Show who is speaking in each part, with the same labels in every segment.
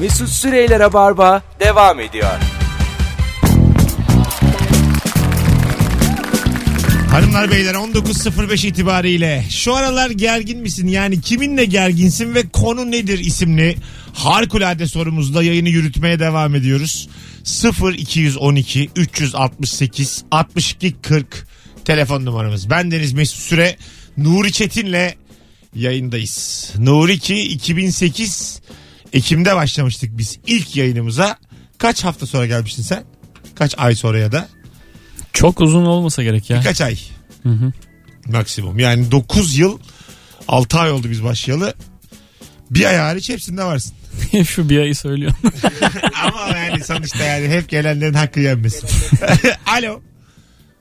Speaker 1: Mesut Süreyler'e barba devam ediyor.
Speaker 2: Hanımlar beyler 19.05 itibariyle şu aralar gergin misin? Yani kiminle gerginsin ve konu nedir isimli harikulade sorumuzda yayını yürütmeye devam ediyoruz. 0 212 368 62 40 telefon numaramız. Ben Deniz Mesut Süre Nuri Çetin'le yayındayız. Nuri ki 2008 Ekim'de başlamıştık biz ilk yayınımıza. Kaç hafta sonra gelmiştin sen? Kaç ay sonra ya da?
Speaker 3: Çok uzun olmasa gerek ya.
Speaker 2: Birkaç ay. Maksimum. Yani 9 yıl 6 ay oldu biz başlayalı. Bir ay hariç hepsinde varsın.
Speaker 3: Şu bir ayı söylüyorum.
Speaker 2: Ama yani sonuçta yani hep gelenlerin hakkı yenmesin. Alo.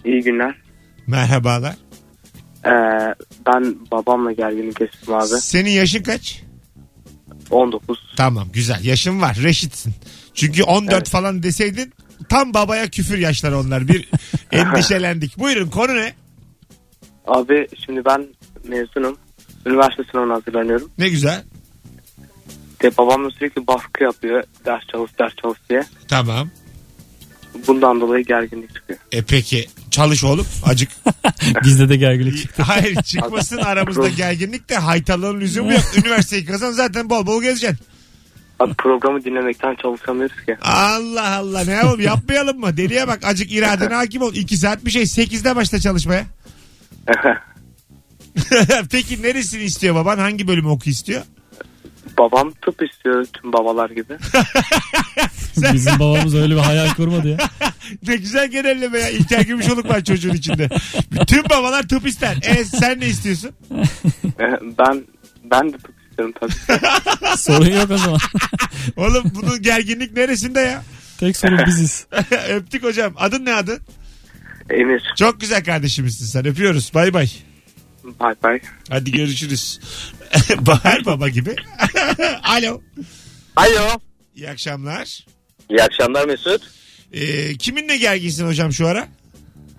Speaker 4: İyi günler.
Speaker 2: Merhabalar.
Speaker 4: Ee, ben babamla gerginlik kestim abi.
Speaker 2: Senin yaşın kaç?
Speaker 4: 19.
Speaker 2: Tamam güzel. Yaşın var. Reşitsin. Çünkü 14
Speaker 4: Evet.
Speaker 2: falan deseydin tam babaya küfür yaşlar onlar. Bir endişelendik. Buyurun konu ne?
Speaker 4: Abi şimdi ben mezunum. Üniversite sınavına hazırlanıyorum.
Speaker 2: Ne güzel.
Speaker 4: De babam da sürekli baskı yapıyor. Ders çalış, ders çalış diye.
Speaker 2: Tamam.
Speaker 4: Bundan dolayı gerginlik çıkıyor.
Speaker 2: E peki çalış oğlum acık.
Speaker 3: Bizde de gerginlik çıktı.
Speaker 2: Hayır çıkmasın aramızda gerginlik de haytalığın lüzumu yok. Üniversiteyi kazan zaten bol bol gezeceksin.
Speaker 4: Abi programı dinlemekten çalışamıyoruz ki.
Speaker 2: Allah Allah ne yapalım yapmayalım mı? Deliye bak acık iradene hakim ol. 2 saat bir şey 8'de başla çalışmaya. Peki neresini istiyor baban? Hangi bölümü oku istiyor?
Speaker 4: Babam tıp istiyor tüm babalar gibi.
Speaker 3: Bizim babamız öyle bir hayal kurmadı ya.
Speaker 2: Ne güzel genelleme ya. İlker Gümüşoluk var çocuğun içinde. Bütün babalar tıp ister. E sen ne istiyorsun?
Speaker 4: ben ben de tıp istiyorum tabii.
Speaker 3: Sorun yok o zaman.
Speaker 2: Oğlum bunun gerginlik neresinde ya?
Speaker 3: Tek sorun biziz.
Speaker 2: Öptük hocam. Adın ne adın?
Speaker 4: Emir
Speaker 2: Çok güzel kardeşimizsin sen. Öpüyoruz. Bay bay.
Speaker 4: bay bay.
Speaker 2: Hadi görüşürüz. Bahar baba gibi. Alo.
Speaker 5: Alo.
Speaker 2: İyi akşamlar.
Speaker 5: İyi akşamlar Mesut.
Speaker 2: Ee, kiminle gerginsin hocam şu ara?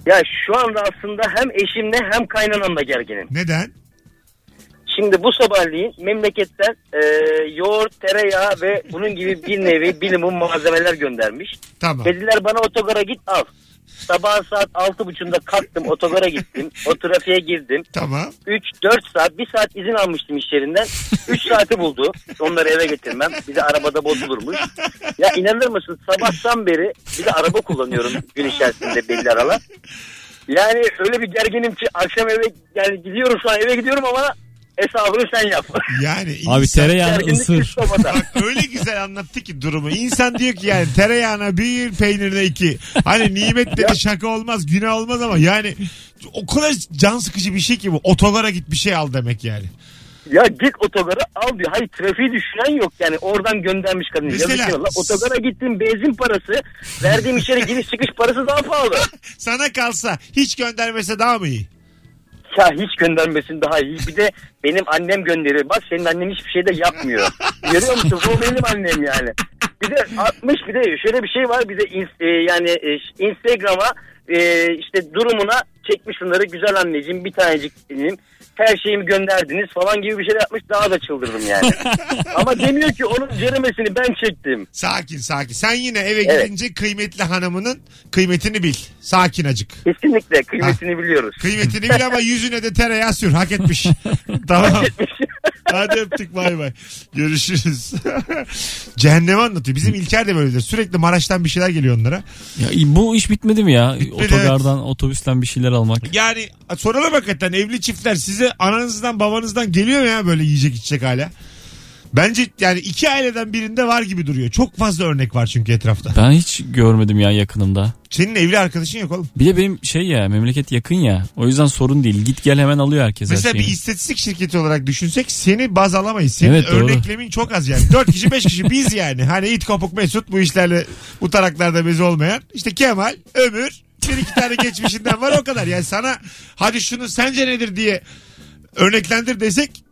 Speaker 5: Ya şu anda aslında hem eşimle hem kaynanamla gerginim.
Speaker 2: Neden?
Speaker 5: Şimdi bu sabahleyin memleketten e, yoğurt, tereyağı ve bunun gibi bir nevi bir limon malzemeler göndermiş.
Speaker 2: Tamam.
Speaker 5: Dediler bana otogara git al. Sabah saat altı buçukta kalktım otogara gittim. O trafiğe girdim.
Speaker 2: Tamam.
Speaker 5: 3-4 saat bir saat izin almıştım iş yerinden. 3 saati buldu. Onları eve getirmem. Bir de arabada bozulurmuş. Ya inanır mısın sabahtan beri bir de araba kullanıyorum gün içerisinde belli aralar. Yani öyle bir gerginim ki akşam eve yani gidiyorum şu an eve gidiyorum ama hesabını sen yap.
Speaker 2: Yani
Speaker 3: Abi
Speaker 2: insan-
Speaker 3: tereyağını
Speaker 5: Gerginlik
Speaker 3: ısır.
Speaker 5: üst babada.
Speaker 2: öyle güzel anlattı ki durumu. İnsan diyor ki yani tereyağına bir peynirine iki. Hani nimet dedi şaka olmaz günah olmaz ama yani o kadar can sıkıcı bir şey ki bu. Otogara git bir şey al demek yani.
Speaker 5: Ya git otogara al diyor. Hayır trafiği düşünen yok yani oradan göndermiş kadın.
Speaker 2: Mesela-
Speaker 5: Yazık ya. Otogara gittim benzin parası verdiğim içeri giriş çıkış parası daha pahalı.
Speaker 2: Sana kalsa hiç göndermese daha mı iyi?
Speaker 5: Ya hiç göndermesin daha iyi. Bir de benim annem gönderiyor. Bak senin annen hiçbir şey de yapmıyor. Görüyor musun? Bu benim annem yani. Bir de 60 bir de şöyle bir şey var. Bir de ins- e, yani e, ş- Instagram'a e, işte durumuna çekmiş bunları. Güzel anneciğim bir tanecik benim. Her şeyimi gönderdiniz falan gibi bir şeyler yapmış. Daha da çıldırdım yani. Ama demiyor ki onun ceremesini ben çektim.
Speaker 2: Sakin sakin. Sen yine eve
Speaker 5: Evet.
Speaker 2: gidince kıymetli hanımının kıymetini bil. Sakin acık.
Speaker 5: Kesinlikle
Speaker 2: Ah.
Speaker 5: kıymetini biliyoruz.
Speaker 2: Kıymetini bil ama yüzüne de tereyağı sür. Hak etmiş. tamam. Hadi öptük bay bay. Görüşürüz. Cehennemi anlatıyor. Bizim İlker de böyledir. Sürekli Maraş'tan bir şeyler geliyor onlara.
Speaker 3: Ya, bu iş bitmedi mi ya? Otogardan, otobüsten bir şeyler almak.
Speaker 2: Yani soralım hakikaten evli çiftler size ananızdan babanızdan geliyor mu ya böyle yiyecek içecek hala? Bence yani iki aileden birinde var gibi duruyor. Çok fazla örnek var çünkü etrafta.
Speaker 3: Ben hiç görmedim ya yakınımda.
Speaker 2: Senin evli arkadaşın yok oğlum.
Speaker 3: Bir de benim şey ya memleket yakın ya. O yüzden sorun değil. Git gel hemen alıyor herkes her
Speaker 2: Mesela
Speaker 3: şeyi.
Speaker 2: bir istatistik şirketi olarak düşünsek seni baz alamayız. Senin
Speaker 3: Evet, doğru.
Speaker 2: örneklemin çok az yani. 4 kişi 5 kişi biz yani. Hani it kopuk mesut bu işlerle bu taraklarda bezi olmayan. İşte Kemal, Ömür bir iki tane geçmişinden var o kadar. Yani sana hadi şunu sence nedir diye örneklendir desek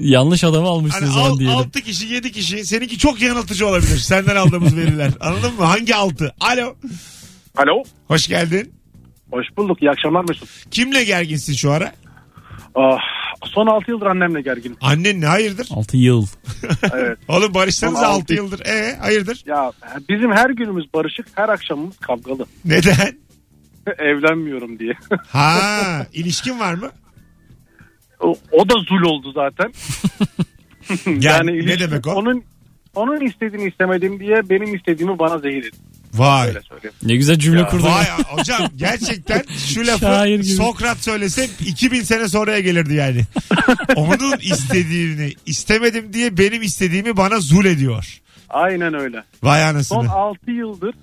Speaker 3: Yanlış adamı almışsın
Speaker 2: hani
Speaker 3: o zaman
Speaker 2: al,
Speaker 3: diyelim.
Speaker 2: 6 kişi 7 kişi seninki çok yanıltıcı olabilir senden aldığımız veriler. Anladın mı? Hangi 6? Alo.
Speaker 6: Alo.
Speaker 2: Hoş geldin.
Speaker 6: Hoş bulduk. İyi akşamlar Mesut.
Speaker 2: Kimle gerginsin şu ara?
Speaker 6: Ah,
Speaker 7: son 6 yıldır annemle gerginim.
Speaker 2: Annen ne hayırdır?
Speaker 3: 6 yıl.
Speaker 7: Evet.
Speaker 2: Oğlum barışsanız
Speaker 7: Son
Speaker 2: 6
Speaker 7: altı-
Speaker 2: yıldır. E hayırdır?
Speaker 7: Ya bizim her günümüz barışık, her akşamımız kavgalı.
Speaker 2: Neden?
Speaker 7: Evlenmiyorum diye.
Speaker 2: Ha ilişkin var mı?
Speaker 7: O, o da zul oldu zaten.
Speaker 2: Yani, ne
Speaker 7: ilişki-
Speaker 2: demek o?
Speaker 7: Onun onun istediğini istemedim diye benim istediğimi bana zehir etti.
Speaker 2: Vay.
Speaker 7: Öyle söyleyeyim.
Speaker 3: Ne güzel cümle kurdun.
Speaker 2: Vay hocam gerçekten şu lafı
Speaker 3: Şair gibi.
Speaker 2: Sokrat söylese 2000 sene sonraya gelirdi yani. Onun istediğini istemedim diye benim istediğimi bana zul ediyor.
Speaker 7: Aynen öyle.
Speaker 2: Vay
Speaker 7: Son
Speaker 2: anasını.
Speaker 7: 6 yıldır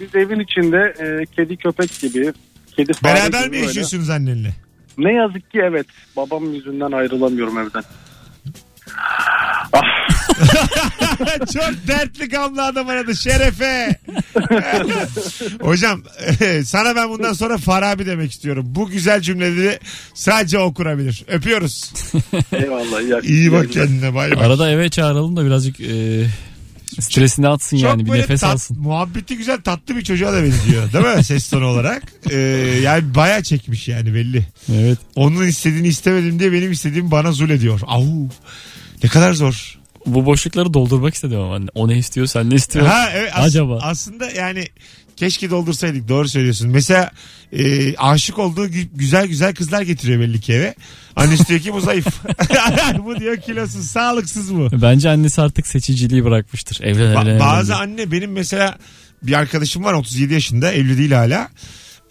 Speaker 7: biz evin içinde e, kedi köpek gibi kedi fare
Speaker 2: Beraber
Speaker 7: gibi
Speaker 2: mi
Speaker 7: böyle.
Speaker 2: yaşıyorsunuz annenle?
Speaker 7: Ne yazık ki evet. Babam yüzünden ayrılamıyorum evden.
Speaker 2: Çok dertli gamlı adam aradı şerefe. Hocam sana ben bundan sonra Farabi demek istiyorum. Bu güzel cümleleri sadece o kurabilir. Öpüyoruz.
Speaker 7: Eyvallah. iyi akşamlar.
Speaker 2: İyi bak kendine bay bay.
Speaker 3: Arada eve çağıralım da birazcık e, stresini atsın
Speaker 2: Çok
Speaker 3: yani bir
Speaker 2: böyle
Speaker 3: nefes
Speaker 2: tat-
Speaker 3: alsın.
Speaker 2: Muhabbeti güzel tatlı bir çocuğa da benziyor. Değil mi ses tonu olarak? Ee, yani bayağı çekmiş yani belli.
Speaker 3: Evet.
Speaker 2: Onun istediğini istemedim diye benim istediğim bana zul ediyor. Ahu. Ne kadar zor.
Speaker 3: Bu boşlukları doldurmak istedim ama anne. O ne istiyor sen ne istiyorsun?
Speaker 2: Ha evet as-
Speaker 3: Acaba?
Speaker 2: aslında yani keşke doldursaydık doğru söylüyorsun. Mesela e, aşık olduğu gü- güzel güzel kızlar getiriyor belli ki eve. Annesi diyor ki bu zayıf. bu diyor kilosuz sağlıksız bu.
Speaker 3: Bence annesi artık seçiciliği bırakmıştır. Evlen
Speaker 2: Ba-
Speaker 3: evlen. evlen
Speaker 2: bazı
Speaker 3: diye.
Speaker 2: anne benim mesela bir arkadaşım var 37 yaşında evli değil hala.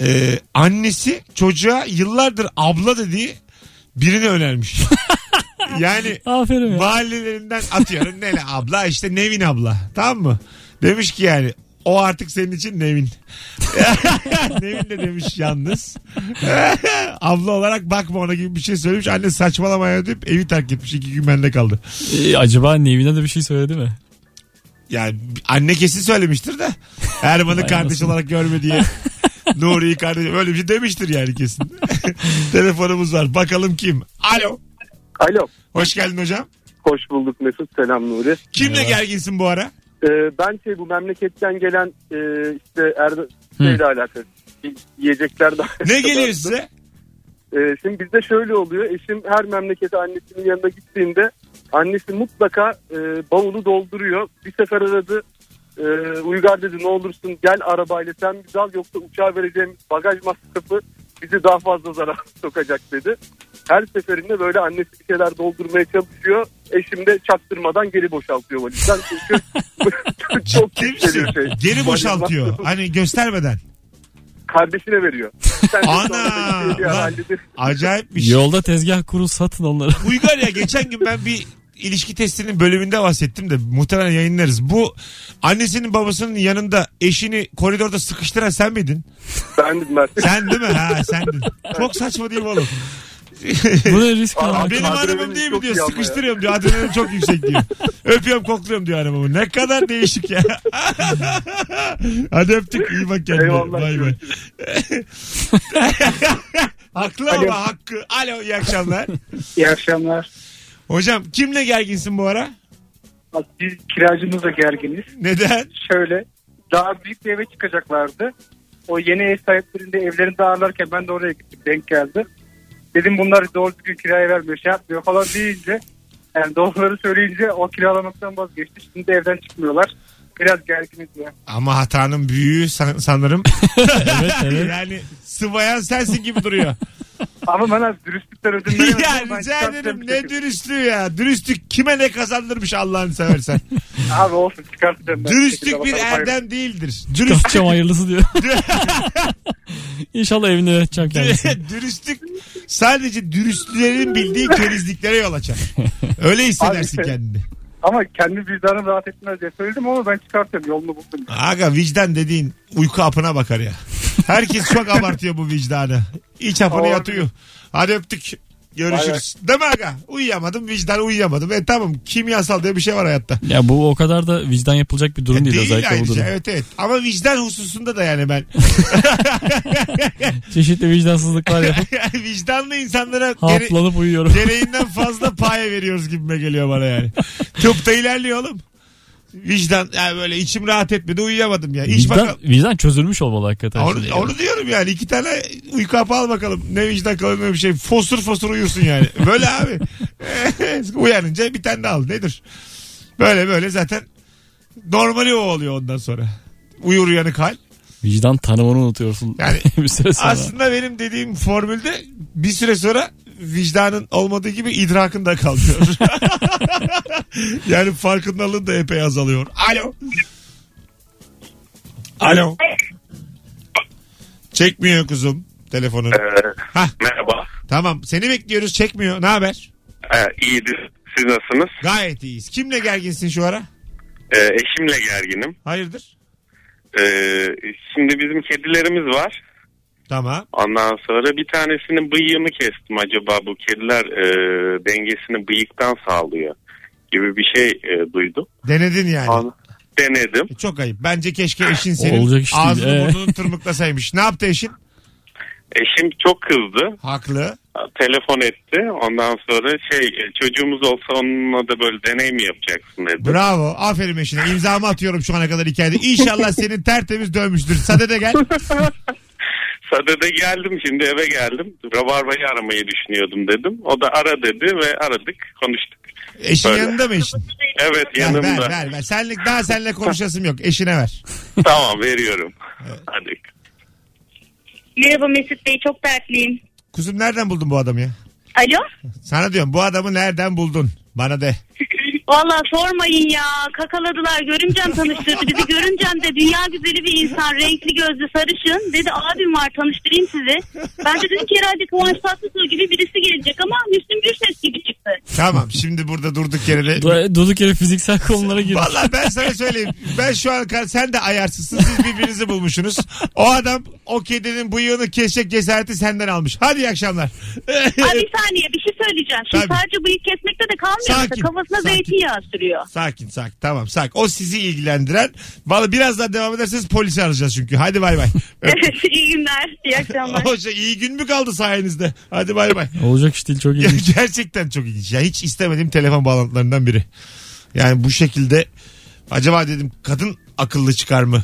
Speaker 2: Ee, annesi çocuğa yıllardır abla dediği birini önermiş. yani
Speaker 3: Aferin ya.
Speaker 2: mahallelerinden atıyorum Nele abla işte Nevin abla tamam mı? Demiş ki yani o artık senin için Nevin. Nevin de demiş yalnız. abla olarak bakma ona gibi bir şey söylemiş. Anne saçmalamaya deyip evi terk etmiş. iki gün bende kaldı.
Speaker 3: E, acaba Nevin'e de bir şey söyledi mi?
Speaker 2: Yani anne kesin söylemiştir de. Erman'ı
Speaker 3: Vay
Speaker 2: kardeş
Speaker 3: anasını.
Speaker 2: olarak görme diye. Nuri'yi kardeş böyle bir şey demiştir yani kesin. Telefonumuz var. Bakalım kim? Alo.
Speaker 4: Alo.
Speaker 2: Hoş geldin hocam.
Speaker 4: Hoş bulduk Mesut. Selam Nuri.
Speaker 2: Kimle
Speaker 3: Merhaba.
Speaker 2: gerginsin bu ara?
Speaker 4: Ee, ben şey bu memleketten gelen e, işte Erdo
Speaker 3: Hı.
Speaker 4: şeyle alakalı. y- Yiyecekler de
Speaker 2: Ne geliyor size?
Speaker 4: Ee, şimdi bizde şöyle oluyor. Eşim her memlekete annesinin yanına gittiğinde annesi mutlaka e, bavulu dolduruyor. Bir sefer aradı. E, Uygar dedi ne olursun gel arabayla sen bizi al yoksa uçağa vereceğimiz bagaj masrafı bizi daha fazla zarar sokacak dedi. Her seferinde böyle annesi bir şeyler doldurmaya çalışıyor. Eşim de çaktırmadan geri boşaltıyor valizden. Çünkü çok
Speaker 2: Ciddi
Speaker 4: pis geliyor
Speaker 2: misin?
Speaker 4: şey.
Speaker 2: Geri boşaltıyor.
Speaker 4: Valiz masrafı
Speaker 2: Hani göstermeden.
Speaker 4: Kardeşine veriyor. Sen de
Speaker 2: Ana!
Speaker 4: sonra bir şey
Speaker 2: Lan.
Speaker 4: halledir.
Speaker 2: Acayip bir şey.
Speaker 3: Yolda tezgah kurul satın onları.
Speaker 2: Uygar ya geçen gün ben bir ilişki testinin bölümünde bahsettim de muhtemelen yayınlarız. Bu annesinin babasının yanında eşini koridorda sıkıştıran sen miydin?
Speaker 4: Ben dedim ben.
Speaker 2: Sen değil mi? Ha sendin. Çok saçma değil mi oğlum?
Speaker 3: Bu da risk
Speaker 4: Aa,
Speaker 3: almak.
Speaker 2: benim
Speaker 4: adrenalin
Speaker 2: arabam değil mi
Speaker 4: çok iyi
Speaker 2: diyor.
Speaker 4: ama ya.
Speaker 2: Sıkıştırıyorum diyor. Adrenalin çok yüksek diyor. Öpüyorum kokluyorum diyor arabamı. Ne kadar değişik ya. Hadi öptük. iyi bak kendine.
Speaker 4: Eyvallah,
Speaker 2: Bay bay.
Speaker 4: görüşürüz.
Speaker 2: Haklı ama hakkı. Alo iyi akşamlar.
Speaker 7: İyi akşamlar.
Speaker 2: Hocam kimle gerginsin bu ara?
Speaker 7: Biz kiracımızla gerginiz.
Speaker 2: Neden?
Speaker 7: Şöyle daha büyük bir eve çıkacaklardı. O yeni ev sahiplerinde evlerini dağılarken ben de oraya gittim. Denk geldi. Dedim bunlar doğru düzgün kiraya vermiyor şey yapmıyor falan deyince yani doğruları söyleyince o kiralamaktan vazgeçti. Şimdi de evden çıkmıyorlar. Biraz gerginiz ya.
Speaker 2: Ama hatanın büyüğü san- sanırım.
Speaker 3: Evet evet.
Speaker 2: yani sıvayan sensin gibi duruyor.
Speaker 7: Ama ben az dürüstlükten ödün veremedim.
Speaker 2: ya
Speaker 7: Ben
Speaker 2: rica
Speaker 7: kitap
Speaker 2: ederim ne
Speaker 7: sevmiştim.
Speaker 2: dürüstlüğü ya. Dürüstlük kime ne kazandırmış Allah'ını seversen.
Speaker 7: Abi olsun çıkartacağım. ben. şey
Speaker 2: Dürüstlük bir
Speaker 7: Bakalım, hayır.
Speaker 2: erdem değildir. Dürüst
Speaker 3: Kapacağım hayırlısı diyor. İnşallah evini öğreteceğim kendisine.
Speaker 2: dürüstlük sadece dürüstlerin bildiği kerizliklere yol açar. Öyle hissedersin
Speaker 7: Abi,
Speaker 2: kendini.
Speaker 7: Ama kendi vicdanım rahat etmez diye söyledim ama ben çıkartıyorum. Yolunu buldum.
Speaker 2: Aga vicdan dediğin uyku hapına bakar ya. Herkes çok abartıyor bu vicdanı. İç hapını
Speaker 7: Olabilir.
Speaker 2: yatıyor. Hadi öptük. Görüşürüz. Değil mi aga? Uyuyamadım vicdan uyuyamadım. E tamam kimyasal diye bir şey var hayatta.
Speaker 3: Ya bu o kadar da vicdan yapılacak bir durum değil, özellikle bu
Speaker 2: ayrıca
Speaker 3: durum.
Speaker 2: evet evet. Ama vicdan hususunda da yani ben
Speaker 3: Çeşitli vicdansızlıklar yapıp
Speaker 2: vicdanlı insanlara gere-
Speaker 3: haplanıp uyuyorum.
Speaker 2: gereğinden fazla pay veriyoruz gibime geliyor bana yani. Tıpta ilerliyor oğlum. Vicdan yani böyle içim rahat etmedi uyuyamadım ya. İç
Speaker 3: Vicdan,
Speaker 2: bakalım.
Speaker 3: vicdan çözülmüş olmalı hakikaten. şimdi.
Speaker 2: Onu, onu diyorum yani iki tane uyku hapı al bakalım. Ne vicdan kalır ne bir şey. Fosur fosur uyursun yani. Böyle abi. Uyanınca bir tane de al. Nedir? Böyle böyle zaten normali o oluyor ondan sonra. Uyur uyanık hal.
Speaker 3: Vicdan tanımını unutuyorsun.
Speaker 2: Yani
Speaker 3: bir süre sonra.
Speaker 2: Aslında benim dediğim formülde bir süre sonra vicdanın olmadığı gibi idrakın da kalmıyor. yani farkındalığın da epey azalıyor. Alo. Alo. Çekmiyor kuzum telefonunu. Hah
Speaker 8: merhaba. Ee,
Speaker 2: tamam seni bekliyoruz çekmiyor. Ne haber?
Speaker 8: iyidir. Siz nasılsınız?
Speaker 2: Gayet iyiyiz. Kimle gerginsin şu ara?
Speaker 8: Ee, eşimle gerginim.
Speaker 2: Hayırdır?
Speaker 8: Ee, şimdi bizim kedilerimiz var.
Speaker 2: Tamam.
Speaker 8: Ondan sonra bir tanesinin bıyığını kestim. Acaba bu kediler e, dengesini bıyıktan sağlıyor gibi bir şey e, duydum.
Speaker 2: Denedin yani.
Speaker 8: An- Denedim.
Speaker 2: E, Çok ayıp. Bence keşke eşin senin
Speaker 3: Olacak iş değil.
Speaker 2: ağzını
Speaker 3: Ee?
Speaker 2: burnunu tırmıklasaymış. Ne yaptı eşin?
Speaker 8: Eşim çok kızdı.
Speaker 2: Haklı.
Speaker 8: Telefon etti. Ondan sonra şey e, çocuğumuz olsa onunla da böyle deney mi yapacaksın dedi.
Speaker 2: Bravo. Aferin eşine. İmzamı atıyorum şu ana kadar hikayede. İnşallah senin tertemiz dönmüştür. Sade de gel.
Speaker 8: Sadede geldim şimdi eve geldim. Rabarba'yı aramayı düşünüyordum dedim. O da ara dedi ve aradık konuştuk.
Speaker 2: Eşin
Speaker 8: Öyle.
Speaker 2: yanında mı eşin?
Speaker 8: Evet
Speaker 2: Ver,
Speaker 8: yanımda.
Speaker 2: Ver, ver, ver. Senlik, daha seninle konuşasım yok. Eşine ver.
Speaker 8: Tamam veriyorum. Hadi.
Speaker 9: Merhaba Mesut Bey çok dertliyim.
Speaker 2: Kuzum nereden buldun bu adamı ya?
Speaker 9: Alo?
Speaker 2: Sana diyorum bu adamı nereden buldun? Bana de.
Speaker 9: Valla sormayın ya. Kakaladılar. Görümcem tanıştırdı. Bizi görümcem de dünya güzeli bir insan. Renkli gözlü sarışın. Dedi abim var tanıştırayım sizi. Ben de dedim ki herhalde Kıvanç Tatlıtuğ gibi birisi gelecek ama Müslüm Gürses gibi çıktı.
Speaker 2: Tamam şimdi burada durduk yere de.
Speaker 3: Du- Durduk yere fiziksel konulara girdi.
Speaker 2: Valla ben sana söyleyeyim. Ben şu an kar- sen de ayarsızsın. Siz birbirinizi bulmuşsunuz. O adam o kedinin bıyığını kesecek cesareti senden almış. Hadi iyi akşamlar.
Speaker 9: Abi bir saniye bir şey söyleyeceğim. Şimdi
Speaker 2: Tabii.
Speaker 9: sadece bıyık kesmekte de kalmıyor.
Speaker 2: Sakin,
Speaker 9: Mesela Kafasına
Speaker 2: sakin.
Speaker 9: zeytinyağı sürüyor.
Speaker 2: Sakin sakin tamam sakin. O sizi ilgilendiren. Valla biraz daha devam ederseniz polisi arayacağız çünkü. Hadi bay bay.
Speaker 9: Evet iyi günler. İyi akşamlar.
Speaker 2: Hoşça iyi gün mü kaldı sayenizde? Hadi bay bay.
Speaker 3: Olacak iş değil çok
Speaker 2: Ya
Speaker 3: ilginç.
Speaker 2: Gerçekten çok ilginç. Ya hiç istemediğim telefon bağlantılarından biri. Yani bu şekilde acaba dedim kadın akıllı çıkar mı?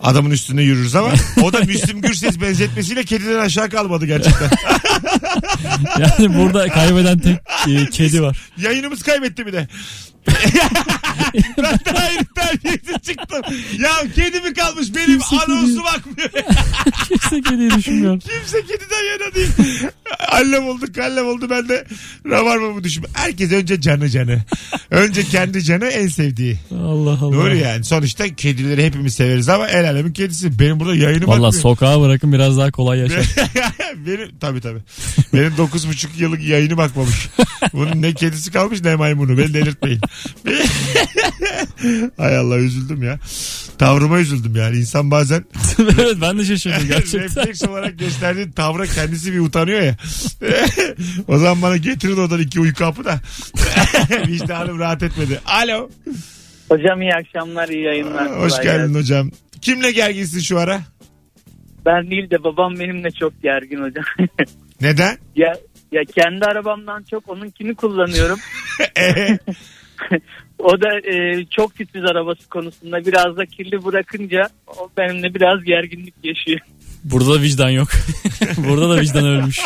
Speaker 2: Adamın üstüne yürürüz ama o da Müslüm Gürses benzetmesiyle kediden aşağı kalmadı gerçekten.
Speaker 3: Yani burada kaybeden tek e, kedi var.
Speaker 2: Yayınımız kaybetti bir de. ben de aynı terbiyesiz çıktım. Ya kedi mi kalmış benim
Speaker 3: Kimse kedi-
Speaker 2: anonsu bakmıyor.
Speaker 3: Kimse kediyi düşünmüyor.
Speaker 2: Kimse kediden yana değil. Allem oldu kallem oldu ben de rabarbamı düşün. Herkes önce canı canı. Önce kendi canı en sevdiği.
Speaker 3: Allah Allah.
Speaker 2: Doğru yani sonuçta kedileri hepimiz severiz ama el alemin kedisi. Benim burada yayınım
Speaker 3: Valla
Speaker 2: atmıyor.
Speaker 3: sokağa bırakın biraz daha kolay yaşar.
Speaker 2: Benim tabii tabii. Benim 9,5 yıllık yayını bakmamış. Bunun ne kedisi kalmış ne maymunu. Beni delirtmeyin. Hay Allah üzüldüm ya. Tavrıma üzüldüm yani. İnsan bazen
Speaker 3: evet ben de şaşırdım gerçekten.
Speaker 2: refleks olarak gösterdiği tavra kendisi bir utanıyor ya. o zaman bana getirin oradan iki uyku hapı da. Vicdanım rahat etmedi. Alo.
Speaker 5: Hocam iyi akşamlar, iyi yayınlar.
Speaker 2: Hoş geldin hocam. Kimle gerginsin şu ara?
Speaker 5: Ben değil de babam benimle çok gergin hocam.
Speaker 2: Neden?
Speaker 5: ya ya kendi arabamdan çok onunkini kullanıyorum.
Speaker 2: Ee,
Speaker 5: O da e, çok titiz arabası konusunda biraz da kirli bırakınca o benimle biraz gerginlik yaşıyor.
Speaker 3: Burada da vicdan yok. Burada da vicdan ölmüş.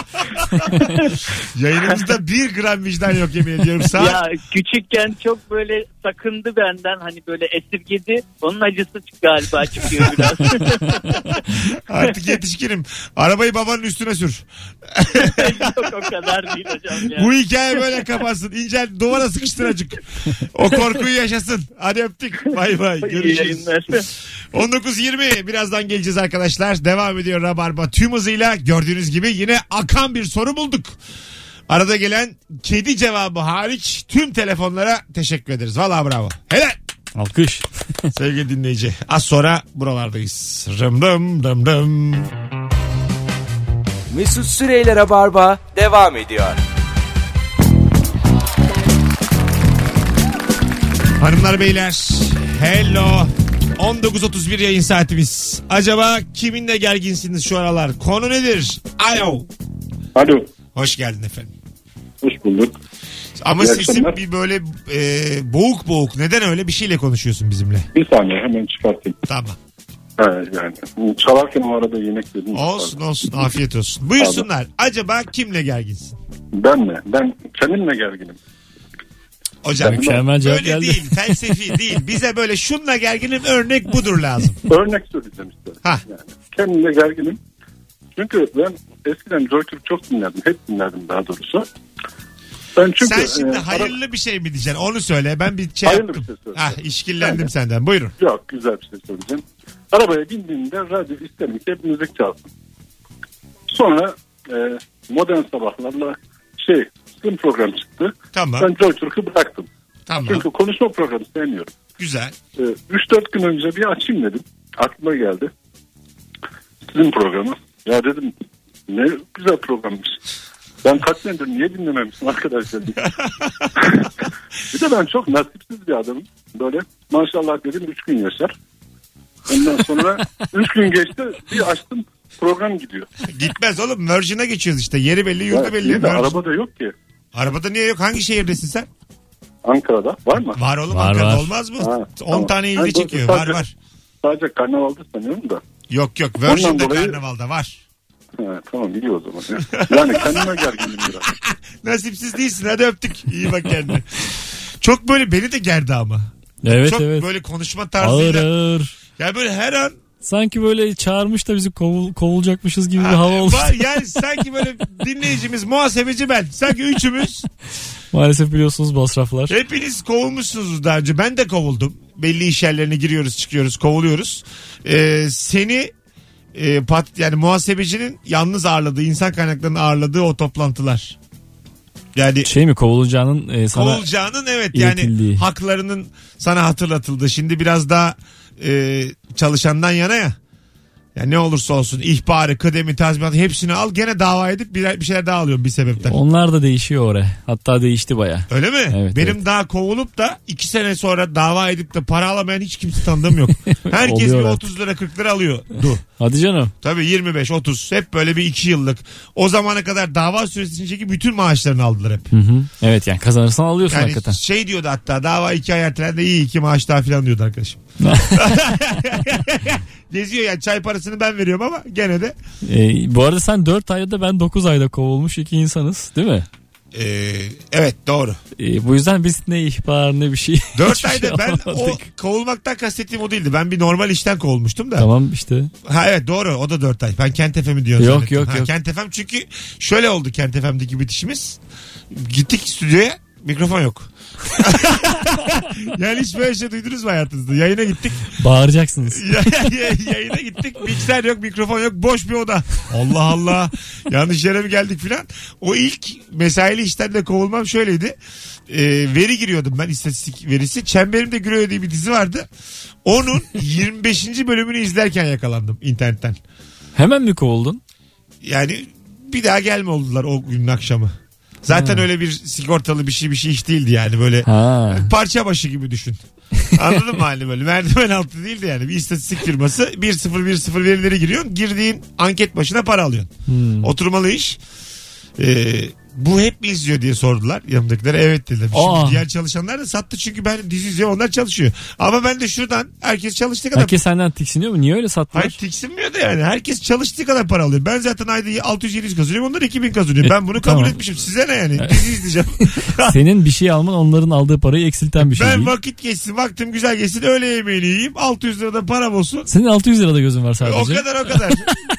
Speaker 2: yayınımızda bir gram vicdan yok yemin ediyorum. Sağ
Speaker 5: Ya küçükken çok böyle sakındı benden hani böyle esirgedi. Onun acısı çık- galiba çıkıyor biraz.
Speaker 2: artık yetişkinim. Arabayı babanın üstüne sür.
Speaker 5: Yok o kadar değil hocam ya.
Speaker 2: Bu hikaye böyle kapansın. İncel duvara sıkıştır acık. O korkuyu yaşasın. Hadi öptük. Bay bay.
Speaker 5: İyi
Speaker 2: Görüşürüz.
Speaker 5: yayınlar.
Speaker 2: 19.20 birazdan geleceğiz arkadaşlar. Devam ediyor Rabarba tüm hızıyla. Gördüğünüz gibi yine akan bir soru bulduk. Arada gelen kedi cevabı hariç tüm telefonlara teşekkür ederiz. Valla bravo. Helal.
Speaker 3: Alkış.
Speaker 2: Sevgili dinleyici az sonra buralardayız. Rım rım rım rım.
Speaker 1: Mesut Süreyler'e barba devam ediyor.
Speaker 2: Hanımlar beyler hello 19.31 yayın saatimiz. Acaba kiminle gerginsiniz şu aralar? Konu nedir? Alo.
Speaker 7: Alo.
Speaker 2: Hoş geldin efendim.
Speaker 7: Hoş bulduk.
Speaker 2: Ama
Speaker 7: İyi
Speaker 2: sesin
Speaker 7: akşamlar.
Speaker 2: bir böyle e, boğuk boğuk. Neden öyle? Bir şeyle konuşuyorsun bizimle.
Speaker 7: Bir saniye hemen çıkartayım.
Speaker 2: Tamam.
Speaker 7: Ha, yani. Çalarken o arada yemek yedim.
Speaker 2: Olsun olsun. Afiyet olsun. Buyursunlar. Acaba kimle gerginsin?
Speaker 7: Ben mi? Ben kendimle gerginim.
Speaker 2: Hocam
Speaker 3: Mükemmel cevap
Speaker 2: böyle
Speaker 3: geldi.
Speaker 2: değil. Felsefi değil. Bize böyle şunla gerginim örnek budur lazım.
Speaker 7: Örnek söyleyeceğim işte.
Speaker 2: Ha.
Speaker 7: Yani kendimle gerginim. Çünkü ben eskiden Joker'ı çok dinlerdim. Hep dinlerdim daha doğrusu. Ben çünkü
Speaker 2: Sen şimdi
Speaker 7: e, ara-
Speaker 2: hayırlı bir şey mi diyeceksin? Onu söyle. Ben bir şey
Speaker 7: Hayırlı
Speaker 2: yaptım.
Speaker 7: bir şey söyleyeceğim.
Speaker 2: ah, işkillendim
Speaker 7: Yani.
Speaker 2: senden. Buyurun.
Speaker 7: Yok güzel bir şey söyleyeceğim. Arabaya bindiğimde radyo isterim ki hep müzik çalsın. Sonra e, modern sabahlarla şey slim program çıktı.
Speaker 2: Tamam.
Speaker 7: Ben Joy Türk'ü bıraktım.
Speaker 2: Tamam.
Speaker 7: Çünkü konuşma programı sevmiyorum.
Speaker 2: Güzel.
Speaker 7: E, 3-4 gün önce bir açayım dedim. Aklıma geldi. Sizin programı. Ya dedim ne güzel programmış. Ben kaç senedir niye dinlememişim arkadaş dedim. bir de ben çok nasipsiz bir adamım. Böyle maşallah dedim 3 gün yaşar. Ondan sonra 3 gün geçti bir açtım program gidiyor.
Speaker 2: Gitmez oğlum. Virgin'e geçiyoruz işte. Yeri belli, yurdu
Speaker 7: Ya,
Speaker 2: belli.
Speaker 7: iyi de
Speaker 2: Virgin.
Speaker 7: arabada yok ki.
Speaker 2: Arabada niye yok? Hangi şehirdesin sen?
Speaker 7: Ankara'da var mı?
Speaker 2: Var oğlum
Speaker 3: Var,
Speaker 2: Ankara'da
Speaker 3: var.
Speaker 2: olmaz mı?
Speaker 7: Ha,
Speaker 2: 10
Speaker 7: tamam.
Speaker 2: tane ilgi
Speaker 7: Ben
Speaker 2: çekiyor.
Speaker 7: doğrusu
Speaker 2: Var
Speaker 7: sadece-
Speaker 2: var.
Speaker 7: Sadece karnavalda sanıyorum da.
Speaker 2: Yok yok. Virgin'de
Speaker 7: dolayı-
Speaker 2: karnavalda var.
Speaker 7: Ha, tamam biliyor o zaman. ya. Yani kendime gerginim biraz.
Speaker 2: Nasipsiz değilsin. Hadi öptük. İyi bak kendine. Çok böyle beni de gerdi ama.
Speaker 3: Evet
Speaker 2: Çok
Speaker 3: evet.
Speaker 2: böyle konuşma
Speaker 3: Ağır
Speaker 2: tarzıyla.
Speaker 3: ağır.
Speaker 2: Ya böyle her an
Speaker 3: Sanki böyle çağırmış da bizi kovul- kovulacakmışız gibi bir hava oldu.
Speaker 2: Var yani sanki böyle dinleyicimiz muhasebeci ben. Sanki üçümüz
Speaker 3: Maalesef biliyorsunuz masraflar.
Speaker 2: hepiniz kovulmuşsunuz daha önce. Ben de kovuldum. Belli iş yerlerine giriyoruz çıkıyoruz kovuluyoruz. Ee, seni e, pat, yani muhasebecinin yalnız ağırladığı insan kaynaklarının ağırladığı o toplantılar. Yani
Speaker 3: Şey mi kovulacağının e, sana
Speaker 2: kovulacağının evet yani
Speaker 3: iletildiği.
Speaker 2: haklarının sana hatırlatıldı. Şimdi biraz daha e, çalışandan yana ya. Yani ne olursa olsun ihbarı, kıdemi, tazminatı hepsini al gene dava edip bir, bir şeyler daha alıyorum bir sebepten.
Speaker 3: onlar da değişiyor oraya. Hatta değişti baya.
Speaker 2: Öyle mi?
Speaker 3: Evet,
Speaker 2: Benim daha kovulup da iki sene sonra dava edip de para alamayan hiç kimse tanıdığım yok. Herkes bir
Speaker 3: Oluyor artık.
Speaker 2: 30 lira 40 lira alıyordu.
Speaker 3: Hadi canım.
Speaker 2: Tabii 25 30 hep böyle bir iki yıllık. O zamana kadar dava süresince bütün maaşlarını aldılar hep.
Speaker 3: Hı hı. Evet yani kazanırsan alıyorsun
Speaker 2: Yani
Speaker 3: hakikaten.
Speaker 2: şey diyordu hatta dava iki ay ertelendi iyi iki maaş daha filan diyordu arkadaşım. Geziyor yani çay parasını ben veriyorum ama gene de.
Speaker 3: E, bu arada sen 4 ayda ben 9 ayda kovulmuş iki insanız değil mi?
Speaker 2: Ee, evet doğru.
Speaker 3: E, bu yüzden biz ne ihbar ne bir şey.
Speaker 2: 4
Speaker 3: hiçbir
Speaker 2: ayda
Speaker 3: şey
Speaker 2: ben o
Speaker 3: alamadık.
Speaker 2: kovulmaktan kastettiğim o değildi. Ben bir normal işten kovulmuştum da.
Speaker 3: Tamam işte.
Speaker 2: Ha evet doğru o da 4 ay. Ben Kentefe mi diyorsun?
Speaker 3: Yok,
Speaker 2: zannettim.
Speaker 3: yok,
Speaker 2: ha,
Speaker 3: yok.
Speaker 2: Kentefem çünkü şöyle oldu Kentefem'deki bitişimiz. Gittik stüdyoya mikrofon yok. yani hiç böyle şey duydunuz mu hayatınızda? Yayına gittik.
Speaker 3: Bağıracaksınız.
Speaker 2: Ya- ya- yayına gittik. Mikser yok, mikrofon yok. Boş bir oda. Allah Allah. Yanlış yere mi geldik filan. O ilk mesaili işten de kovulmam şöyleydi. Ee, veri giriyordum ben istatistik verisi. Çemberimde Güröy diye bir dizi vardı. Onun 25. bölümünü izlerken yakalandım internetten.
Speaker 3: Hemen mi kovuldun?
Speaker 2: Yani bir daha gelme oldular o günün akşamı. Zaten öyle bir sigortalı bir şey bir şey iş değildi yani böyle
Speaker 3: Ha.
Speaker 2: parça başı gibi düşün. Anladın mı halini böyle? Merdiven altı değildi yani. Bir istatistik firması 1-0-1-0 verileri giriyorsun. Girdiğin anket başına para alıyorsun.
Speaker 3: Hmm.
Speaker 2: Oturmalı iş. Ee, bu hep mi izliyor diye sordular yanımdakilere. Evet dedim. Şimdi
Speaker 3: Aa.
Speaker 2: diğer çalışanlar da sattı çünkü ben dizi izliyorum onlar çalışıyor. Ama ben de şuradan herkes çalıştığı kadar
Speaker 3: Herkes senden tiksiniyor mu? Niye öyle sattılar?
Speaker 2: Hayır tiksinmiyor da yani. Herkes çalıştığı kadar para alıyor. Ben zaten ayda 600-700 kazanıyorum. Onlar 2000 kazanıyor. Ben bunu kabul
Speaker 3: E, tamam. E.
Speaker 2: etmişim. Size ne yani? Dizi izleyeceğim.
Speaker 3: Senin bir şey alman onların aldığı parayı eksilten bir şey
Speaker 2: ben
Speaker 3: değil.
Speaker 2: vakit geçsin, vaktim güzel geçsin. Öğle yemeğini yiyeyim. 600 lirada param olsun.
Speaker 3: Senin 600 lirada gözün var sadece.
Speaker 2: O kadar o kadar.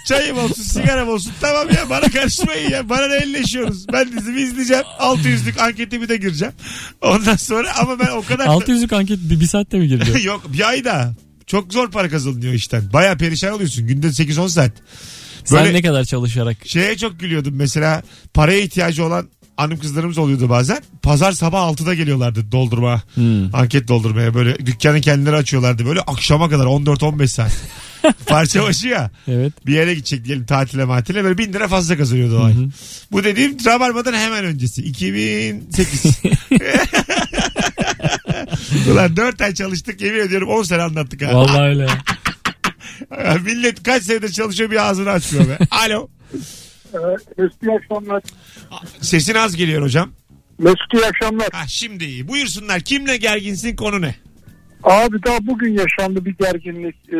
Speaker 2: Çayım olsun, sigaram olsun. Tamam ya bana karışmayın ya. Bana ne elleşiyoruz. Ben dizimi izleyeceğim. 600'lük anketimi de gireceğim. Ondan sonra ama ben o kadar...
Speaker 3: 600'lük anket bir, bir saatte mi girdi?
Speaker 2: Yok bir ayda. Çok zor para kazanılıyor işten. Baya perişan oluyorsun. Günde 8-10 saat. Böyle-
Speaker 3: Sen ne kadar çalışarak?
Speaker 2: Şeye çok gülüyordum mesela paraya ihtiyacı olan hanım kızlarımız oluyordu bazen. Pazar sabah 6'da geliyorlardı doldurma,
Speaker 3: Hmm.
Speaker 2: anket doldurmaya böyle dükkanı kendileri açıyorlardı böyle akşama kadar 14-15 saat. Parça başı ya
Speaker 3: Evet.
Speaker 2: bir yere gidecek diyelim tatile matile böyle 1000 lira fazla kazanıyordu o ay. Bu dediğim Rabarba'dan hemen öncesi 2008. Ulan 4 ay çalıştık yemin ediyorum 10 sene anlattık ha.
Speaker 3: Vallahi öyle.
Speaker 2: Ya Millet kaç senedir çalışıyor bir ağzını açmıyor be. Alo.
Speaker 7: Ee,
Speaker 6: Eski akşamlar
Speaker 2: Sesin az geliyor hocam.
Speaker 7: Mesut iyi akşamlar.
Speaker 2: Ha şimdi iyi. Buyursunlar. Kimle gerginsin konu ne?
Speaker 7: Abi daha bugün yaşandı bir gerginlik. Ee,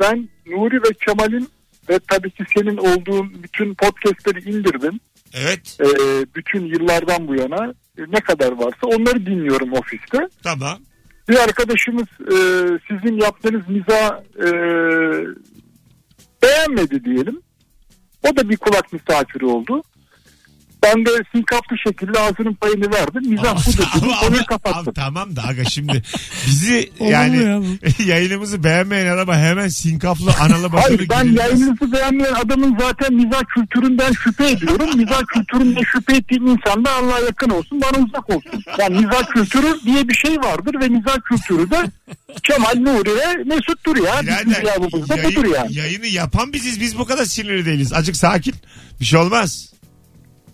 Speaker 7: ben Nuri ve Kemal'in ve tabii ki senin olduğun bütün podcastleri indirdim.
Speaker 2: Evet.
Speaker 7: Ee, bütün yıllardan bu yana e, ne kadar varsa onları dinliyorum ofiste.
Speaker 2: Tamam.
Speaker 7: Bir arkadaşımız e, sizin yaptığınız miza e, beğenmedi diyelim. O da bir kulak misafiri oldu. Ben de sinkaflı şekilde ağzının payını verdim. Mizah budur. dedim,
Speaker 2: Ama- ama-
Speaker 7: Konuyu
Speaker 2: ama-
Speaker 7: kapattım.
Speaker 2: tamam da aga şimdi bizi
Speaker 3: Olur mu ya
Speaker 2: yani yayınımızı beğenmeyen adama hemen sinkaflı analı batılı
Speaker 7: Hayır ben
Speaker 2: gibi-
Speaker 7: yayınınızı beğenmeyen adamın zaten mizah kültüründen şüphe ediyorum. mizah kültüründe şüphe ettiğim insan da Allah'a yakın olsun bana uzak olsun. Yani mizah kültürü diye bir şey vardır ve mizah kültürü de Kemal Nuri ve Mesut'tur ya. Bizim
Speaker 2: Birader,
Speaker 7: cevabımız da
Speaker 2: yayın-
Speaker 7: budur yani.
Speaker 2: Yayını yapan biziz. Biz bu kadar sinirli değiliz. Acık sakin. Bir şey olmaz.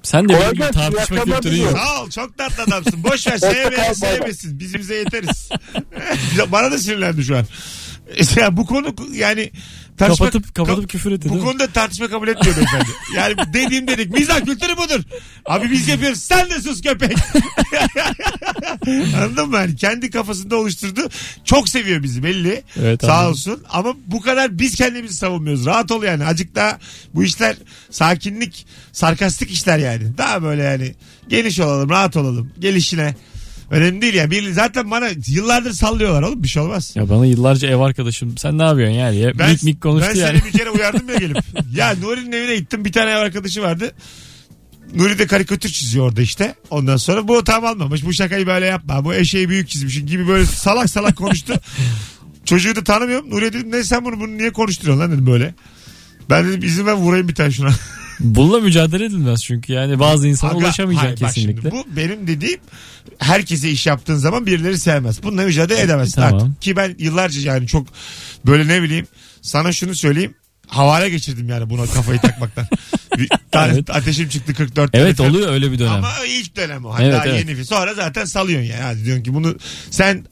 Speaker 3: Sen de
Speaker 7: Kolay
Speaker 3: benim gibi
Speaker 7: gelsin, iyi
Speaker 3: tartışma
Speaker 7: akşamlar
Speaker 3: kültürün yok.
Speaker 7: diliyorum.
Speaker 2: Sağ ol. Çok tatlı adamsın. Boş ver.
Speaker 7: Hoşça kal, bay
Speaker 2: Sevmeyen
Speaker 7: bay.
Speaker 2: sevmesin. Biz bize yeteriz. Bana da sinirlendi şu an. Ya bu konu yani tartışma-
Speaker 3: Kapatıp kapatıp küfür etti.
Speaker 2: Bu
Speaker 3: değil mi?
Speaker 2: konuda tartışma kabul etmiyor beyefendi. Yani dediğim dedik. Mizah kültürü budur. Abi biz yapıyoruz. Sen de sus köpek. Anladın mı? Yani kendi kafasında oluşturdu. Çok seviyor bizi belli.
Speaker 3: Evet,
Speaker 2: Sağ
Speaker 3: anladım.
Speaker 2: olsun. Ama bu kadar biz kendimizi savunmuyoruz. Rahat ol yani. Acık daha bu işler sakinlik, sarkastik işler yani. Daha böyle yani geniş olalım, rahat olalım. Gelişine. Önemli değil ya. Bir, zaten bana yıllardır sallıyorlar oğlum. Bir şey olmaz.
Speaker 3: Ya bana yıllarca ev arkadaşım sen ne yapıyorsun yani? Ya,
Speaker 2: Ben,
Speaker 3: mik mik konuştu
Speaker 2: ben
Speaker 3: yani.
Speaker 2: seni bir kere uyardım ya gelip. ya Nuri'nin evine gittim bir tane ev arkadaşı vardı. Nuri de karikatür çiziyor orada işte. Ondan sonra bu tam almamış. Bu şakayı böyle yapma. Bu eşeği büyük çizmişin gibi böyle salak salak konuştu. Çocuğu da tanımıyorum. Nuri dedim ne sen bunu, bunu niye konuşturuyorsun lan dedim böyle. Ben dedim izin ver vurayım bir tane şuna.
Speaker 3: Bununla mücadele edilmez çünkü yani bazı insana
Speaker 2: Aga,
Speaker 3: ulaşamayacaksın
Speaker 2: hayır, bak şimdi
Speaker 3: kesinlikle.
Speaker 2: bu benim dediğim herkese iş yaptığın zaman birileri sevmez. Bununla mücadele edemezsin
Speaker 3: E, Tamam.
Speaker 2: artık. Ki ben yıllarca yani çok böyle ne bileyim sana şunu söyleyeyim. Havale geçirdim yani buna kafayı takmaktan. Bir tane
Speaker 3: Evet.
Speaker 2: Ateşim çıktı 44 tane
Speaker 3: Evet
Speaker 2: falan.
Speaker 3: oluyor öyle bir dönem.
Speaker 2: Ama ilk dönem o. Hani
Speaker 3: Evet,
Speaker 2: daha
Speaker 3: evet.
Speaker 2: yeni. Sonra zaten salıyorsun yani. Hadi diyorsun ki bunu sen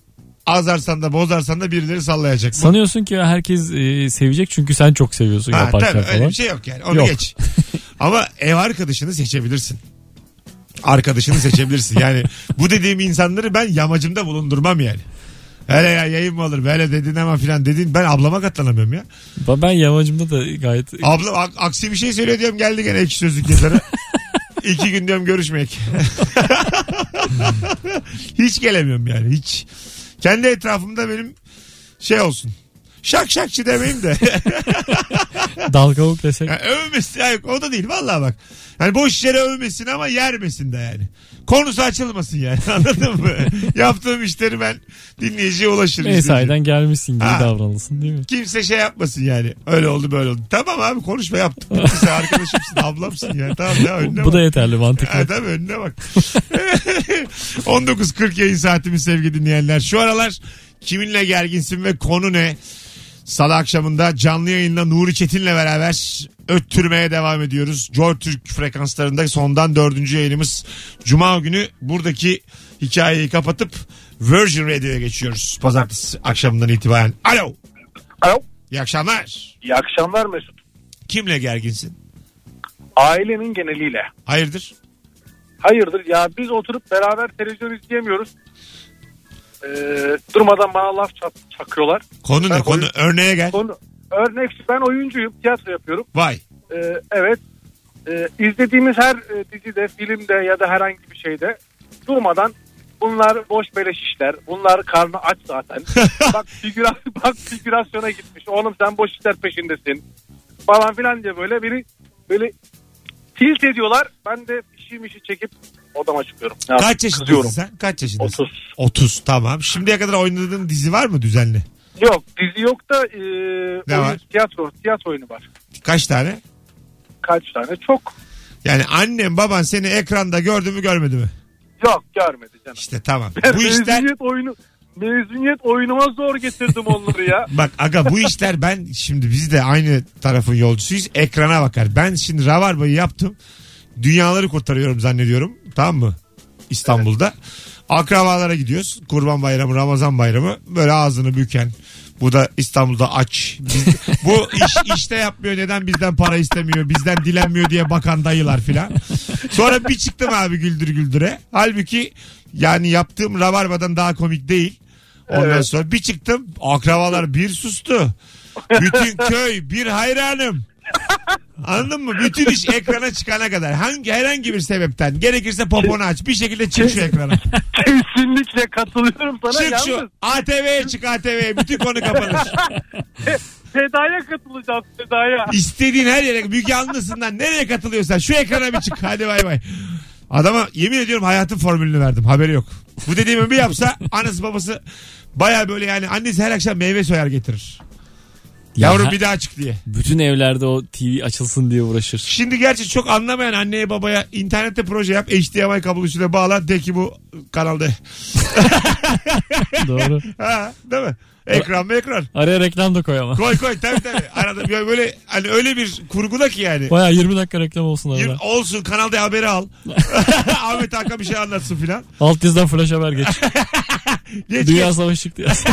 Speaker 2: azarsan da bozarsan da birileri sallayacak. Bu-
Speaker 3: Sanıyorsun ki herkes e, sevecek çünkü sen çok seviyorsun
Speaker 2: Ha,
Speaker 3: yaparken
Speaker 2: tabii, öyle
Speaker 3: falan.
Speaker 2: bir şey yok yani. Onu
Speaker 3: Yok.
Speaker 2: geç. Ama ev arkadaşını seçebilirsin. Arkadaşını seçebilirsin. Yani bu dediğim insanları ben yamacımda bulundurmam yani. Hele ya yayın mı olur böyle dedin ama filan dedin. Ben ablama katlanamıyorum ya.
Speaker 3: Ba- Ben yamacımda da gayet
Speaker 2: Ablam a- aksi bir şey söylüyor diyorum geldi gene ekşi sözlük yazarı. İki gün diyorum görüşmek. hiç gelemiyorum yani hiç. Kendi etrafımda benim şey olsun. Şak şakçı demeyeyim de.
Speaker 3: dal kavuk desek.
Speaker 2: Yani övmesin. Hayır, o da değil. Vallahi bak. Hani boş yere övmesin ama yermesin de yani. Konusu açılmasın yani. Anladın mı? Yaptığım işleri ben dinleyiciye ulaşırım.
Speaker 3: Mesaiden gelmişsin gibi
Speaker 2: Ha.
Speaker 3: davranılsın değil mi?
Speaker 2: Kimse şey yapmasın yani. Öyle oldu böyle oldu. Tamam abi konuşma yaptık. Bitti. Sen arkadaşımsın ablamsın yani. Tamam ya önüne
Speaker 3: Bu,
Speaker 2: bak.
Speaker 3: da yeterli mantıklı.
Speaker 2: Adam önüne bak. 19.40 yayın saatimiz sevgili dinleyenler. Şu aralar kiminle gerginsin ve konu ne? Salı akşamında canlı yayında Nuri Çetin'le beraber öttürmeye devam ediyoruz. Joy Türk frekanslarında sondan dördüncü yayınımız. Cuma günü buradaki hikayeyi kapatıp Virgin Radio'ya geçiyoruz. Pazartesi akşamından itibaren. Alo.
Speaker 7: Alo.
Speaker 2: İyi akşamlar.
Speaker 7: İyi akşamlar Mesut.
Speaker 2: Kimle gerginsin?
Speaker 7: Ailenin geneliyle.
Speaker 2: Hayırdır?
Speaker 7: Hayırdır ya biz oturup beraber televizyon izleyemiyoruz. durmadan bana laf çakıyorlar.
Speaker 2: Konu ne?
Speaker 7: Ben
Speaker 2: Konu
Speaker 7: oyun-
Speaker 2: örneğe gel.
Speaker 7: Konu, örnek ben oyuncuyum tiyatro yapıyorum.
Speaker 2: Vay.
Speaker 7: Ee, evet. Ee, izlediğimiz her e, dizide, filmde ya da herhangi bir şeyde durmadan bunlar boş beleş işler. Bunlar karnı aç zaten. bak, figüra, bak figürasyona gitmiş. Oğlum sen boş işler peşindesin. Falan filan diye böyle beni böyle tilt ediyorlar. Ben de işim işi çekip odama çıkıyorum. Ya,
Speaker 2: Kaç yaşındasın
Speaker 7: kızıyorum.
Speaker 2: sen? Kaç yaşındasın?
Speaker 7: 30.
Speaker 2: 30 tamam. Şimdiye kadar oynadığın dizi var mı düzenli?
Speaker 7: Yok dizi yok da e,
Speaker 2: Ne
Speaker 7: oyun,
Speaker 2: var?
Speaker 7: tiyatro, tiyatro oyunu var.
Speaker 2: Kaç tane?
Speaker 7: Kaç tane? Çok.
Speaker 2: Yani annem baban seni ekranda gördü mü görmedi mi?
Speaker 7: Yok görmedi canım.
Speaker 2: İşte tamam. Bu işler
Speaker 7: mezuniyet oyunu mezuniyet oyunuma zor getirdim onları ya.
Speaker 2: bak aga bu işler ben şimdi biz de aynı tarafın yolcusuyuz. Ekrana bakar. Ben şimdi Rabarba'yı yaptım. Dünyaları kurtarıyorum zannediyorum. Tamam mı? İstanbul'da. Akrabalara gidiyoruz. Kurban bayramı, Ramazan bayramı. Böyle ağzını büken. Bu da İstanbul'da aç. Biz- bu iş, işte yapmıyor neden bizden para istemiyor, bizden dilenmiyor diye bakan dayılar filan. Sonra bir çıktım abi güldür güldüre. Halbuki yani yaptığım rabarbadan daha komik değil. Ondan sonra bir çıktım akrabalar bir sustu. Bütün köy bir hayranım. Anladın mı? Bütün iş ekrana çıkana kadar. Hangi herhangi bir sebepten. Gerekirse poponu aç. Bir şekilde çık şu ekrana.
Speaker 10: Kesinlikle katılıyorum sana.
Speaker 2: Çık şu.
Speaker 10: Yalnız
Speaker 2: ATV'ye çık ATV'ye. Bütün konu kapanır.
Speaker 10: Seda'ya katılacağım Seda'ya.
Speaker 2: İstediğin her yere. Büyük yalnızından nereye katılıyorsan. Şu ekrana bir çık. Hadi bay bay. Adama yemin ediyorum hayatın formülünü verdim. Haberi yok. Bu dediğimi bir yapsa anası babası baya böyle yani annesi her akşam meyve soyar getirir.
Speaker 3: Ya
Speaker 2: Yavrum
Speaker 3: ha-
Speaker 2: bir daha çık diye.
Speaker 3: Bütün evlerde o TV açılsın diye uğraşır.
Speaker 2: Şimdi gerçi çok anlamayan anneye babaya internette proje yap. HDMI kablo üstüne bağla. De ki bu kanalda.
Speaker 3: Doğru.
Speaker 2: Ha, değil mi? Ekran mı ekran?
Speaker 3: Araya reklam da koy ama.
Speaker 2: Koy koy tabii tabii. Arada böyle- böyle hani öyle bir kurguda ki yani.
Speaker 3: Baya 20 dakika reklam olsun
Speaker 2: Yürü,
Speaker 3: arada.
Speaker 2: olsun kanalda haberi al. Ahmet Hakan bir şey anlatsın filan.
Speaker 3: Alt yazıdan flash haber geç.
Speaker 2: Geç
Speaker 3: Dünya
Speaker 2: geç.
Speaker 3: savaşı çıktı yaz.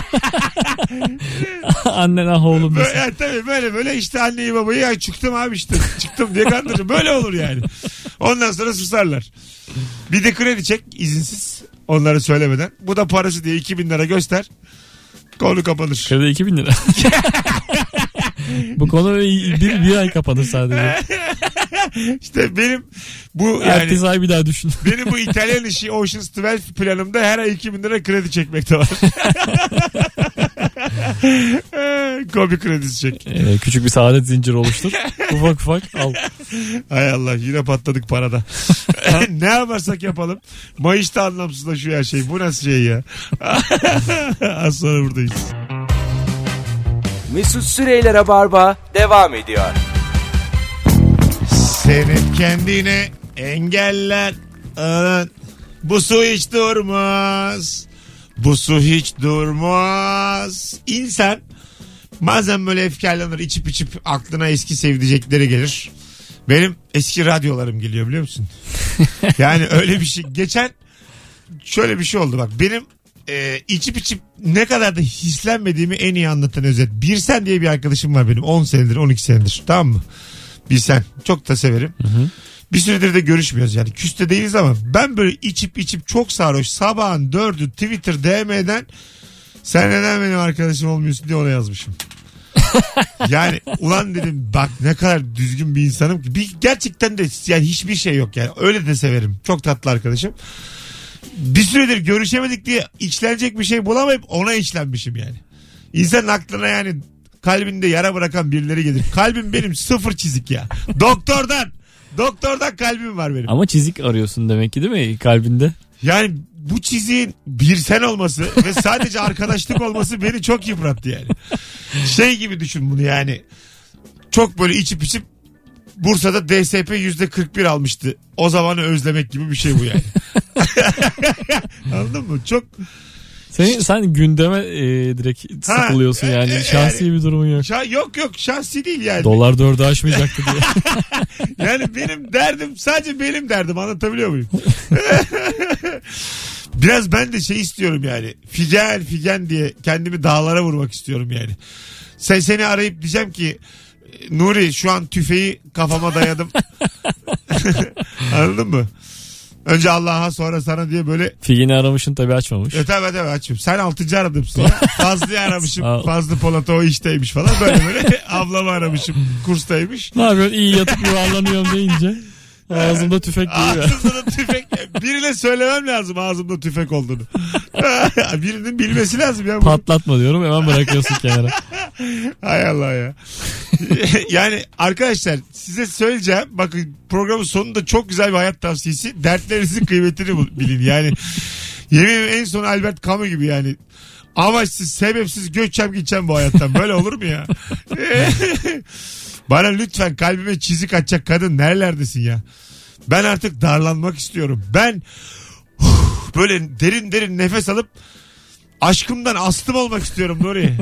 Speaker 3: Annen ah oğlum
Speaker 2: Böyle,
Speaker 3: desin.
Speaker 2: yani tabii böyle böyle işte anneyi babayı ya çıktım abi işte çıktım diye kandırır. Böyle olur yani. Ondan sonra susarlar. Bir de kredi çek izinsiz onları söylemeden. Bu da parası diye 2000 lira göster. Konu kapanır.
Speaker 3: Kredi 2000 lira. Bu konu bir, bir ay kapanır sadece.
Speaker 2: İşte benim bu yani
Speaker 3: Ertesi ay bir daha düşün.
Speaker 2: benim bu İtalyan işi Ocean's 12 planımda her ay 2000 lira kredi çekmekte var. Komik kredisi çek.
Speaker 3: Ee, küçük bir saadet zinciri oluştur. ufak ufak al.
Speaker 2: Hay Allah yine patladık parada. ne yaparsak yapalım. Mayıs da anlamsızlaşıyor her şey. Bu nasıl şey ya? Az sonra buradayız.
Speaker 1: Mesut Süreyler'e barba devam ediyor.
Speaker 2: Senin kendine engeller. aran. Bu su hiç durmaz. Bu su hiç durmaz. İnsan bazen böyle efkarlanır. içip içip aklına eski sevdicekleri gelir. Benim eski radyolarım geliyor biliyor musun? yani öyle bir şey. Geçen şöyle bir şey oldu bak. Benim e, içip içip ne kadar da hislenmediğimi en iyi anlatan özet. Birsen diye bir arkadaşım var benim. 10 senedir 12 senedir tamam mı? Birsen. Çok da severim. Bir süredir de görüşmüyoruz yani. Küste değiliz ama ben böyle içip içip çok sarhoş. Sabahın dördü Twitter DM'den sen neden benim arkadaşım olmuyorsun diye ona yazmışım. yani ulan dedim bak ne kadar düzgün bir insanım ki. Bir, gerçekten de yani hiçbir şey yok yani. Öyle de severim. Çok tatlı arkadaşım. Bir süredir görüşemedik diye içlenecek bir şey bulamayıp ona içlenmişim yani. İnsanın aklına yani kalbinde yara bırakan birileri gelir. Kalbim benim sıfır çizik ya. Doktordan. Doktordan kalbim var benim.
Speaker 3: Ama çizik arıyorsun demek ki değil mi kalbinde?
Speaker 2: Yani bu çiziğin bir sen olması ve sadece arkadaşlık olması beni çok yıprattı yani. Şey gibi düşün bunu yani. Çok böyle içip içip Bursa'da DSP yüzde 41 almıştı. O zamanı özlemek gibi bir şey bu yani. Anladın mı? Çok
Speaker 3: Sen, sen gündeme e, direkt
Speaker 2: Ha,
Speaker 3: sıkılıyorsun yani.
Speaker 2: e, e,
Speaker 3: Şahsi bir durumun yok.
Speaker 2: şa- yok yok şahsi değil yani.
Speaker 3: Dolar dördü aşmayacaktı diye.
Speaker 2: Yani benim derdim sadece benim derdim anlatabiliyor muyum? Biraz ben de şey istiyorum yani. Figen figen diye kendimi dağlara vurmak istiyorum yani. Sen seni arayıp diyeceğim ki Nuri şu an tüfeği kafama dayadım. Anladın mı? Önce Allah'a sonra sana diye böyle
Speaker 3: Figini aramışın tabii açmamış.
Speaker 2: öte öte açım. Sen altıncı aradımsın. ya. Fazlı'yı
Speaker 3: Sağ
Speaker 2: aramışım.
Speaker 3: ol.
Speaker 2: Fazlı Polat o işteymiş falan. Böyle böyle ablamı aramışım. Kurstaymış.
Speaker 3: Ne yapıyorsun? İyi yatıp yuvarlanıyorum deyince. Ağzımda tüfek duruyor.
Speaker 2: Ağzımda da tüfek. Birine söylemem lazım ağzımda tüfek olduğunu. Birinin bilmesi lazım ya. bunu.
Speaker 3: Patlatma diyorum hemen bırakıyorsun kenara.
Speaker 2: Hay Allah ya. yani arkadaşlar size söyleyeceğim. Bakın programın sonunda çok güzel bir hayat tavsiyesi. Dertlerinizin kıymetini bul- bilin. Yani yemin ederim en son Albert Camus gibi yani. Amaçsız, sebepsiz göçeceğim gideceğim bu hayattan. Böyle olur mu ya? Bana lütfen kalbime çizik atacak kadın nerelerdesin ya? Ben artık darlanmak istiyorum. Ben böyle derin derin nefes alıp aşkımdan astım olmak istiyorum Nuri.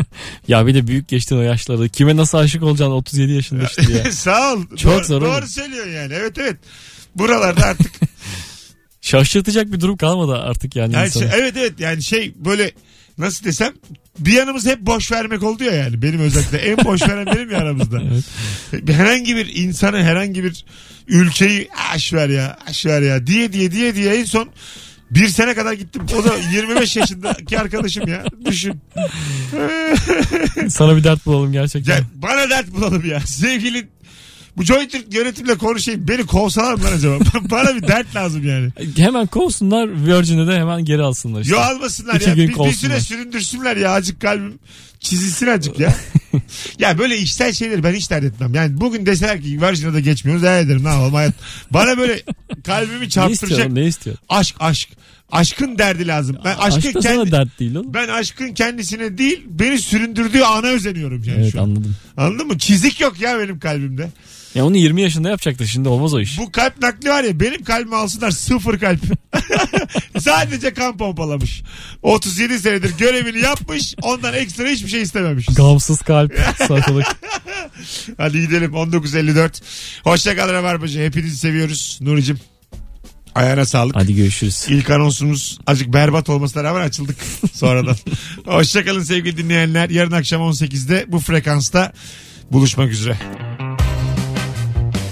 Speaker 3: Ya bir de büyük geçtin o yaşlarda. Kime nasıl aşık olacaksın 37 yaşında işte ya.
Speaker 2: Sağ ol.
Speaker 3: Çok
Speaker 2: doğru,
Speaker 3: zor oğlum.
Speaker 2: Doğru söylüyorsun yani. Evet evet. Buralarda artık
Speaker 3: Şaşırtacak bir durum kalmadı artık yani
Speaker 2: Yani
Speaker 3: insanı.
Speaker 2: şey- evet evet yani şey böyle nasıl desem bir yanımız hep boş vermek oldu ya yani benim özellikle en boş veren benim ya aramızda. Herhangi bir insanı herhangi bir ülkeyi aş ver ya aş ver ya diye diye diye diye en son bir sene kadar gittim. O da 25 yaşındaki arkadaşım ya. Düşün.
Speaker 3: Sana bir dert bulalım gerçekten.
Speaker 2: Ya bana dert bulalım ya. Sevgili bu JoyTürk yönetimle konuşayım. Beni kovsalar mı lan acaba? bana bir dert lazım yani.
Speaker 3: Hemen kovsunlar Virgin'e de hemen geri alsınlar işte.
Speaker 2: Yo almasınlar
Speaker 3: İki
Speaker 2: ya.
Speaker 3: gün
Speaker 2: Bir, bir süre
Speaker 3: kovsunlar.
Speaker 2: süründürsünler ya. Azıcık kalbim çizilsin azıcık ya. ya böyle işsel şeyleri ben hiç dert etmem. Yani bugün deseler ki Virgin'e de geçmiyoruz. Ne ederim ne yapalım hayat. Bana böyle kalbimi
Speaker 3: ne istiyor
Speaker 2: çarptıracak.
Speaker 3: oğlum, ne istiyor?
Speaker 2: aşk aşk. Aşkın derdi lazım. Ben
Speaker 3: Aşk,
Speaker 2: aşkın
Speaker 3: da
Speaker 2: kendi...
Speaker 3: sana dert değil oğlum.
Speaker 2: Ben aşkın kendisine değil beni süründürdüğü ana özeniyorum yani
Speaker 3: Evet
Speaker 2: şu an.
Speaker 3: anladım.
Speaker 2: Anladın mı? Çizik yok ya benim kalbimde.
Speaker 3: Ya onu 20 yaşında yapacaktı şimdi olmaz o iş.
Speaker 2: Bu kalp nakli var ya benim kalbimi alsınlar sıfır kalp. Sadece kan pompalamış. 37 senedir görevini yapmış ondan ekstra hiçbir şey istememiş.
Speaker 3: Gamsız kalp satılık.
Speaker 2: Hadi gidelim 19.54. Hoşçakalın Rabarbacı. Hepinizi seviyoruz. Nuri'cim ayağına sağlık.
Speaker 3: Hadi görüşürüz.
Speaker 2: İlk anonsumuz azıcık berbat olmasına rağmen açıldık sonradan. Hoşçakalın sevgili dinleyenler. Yarın akşam 18'de bu frekansta buluşmak üzere.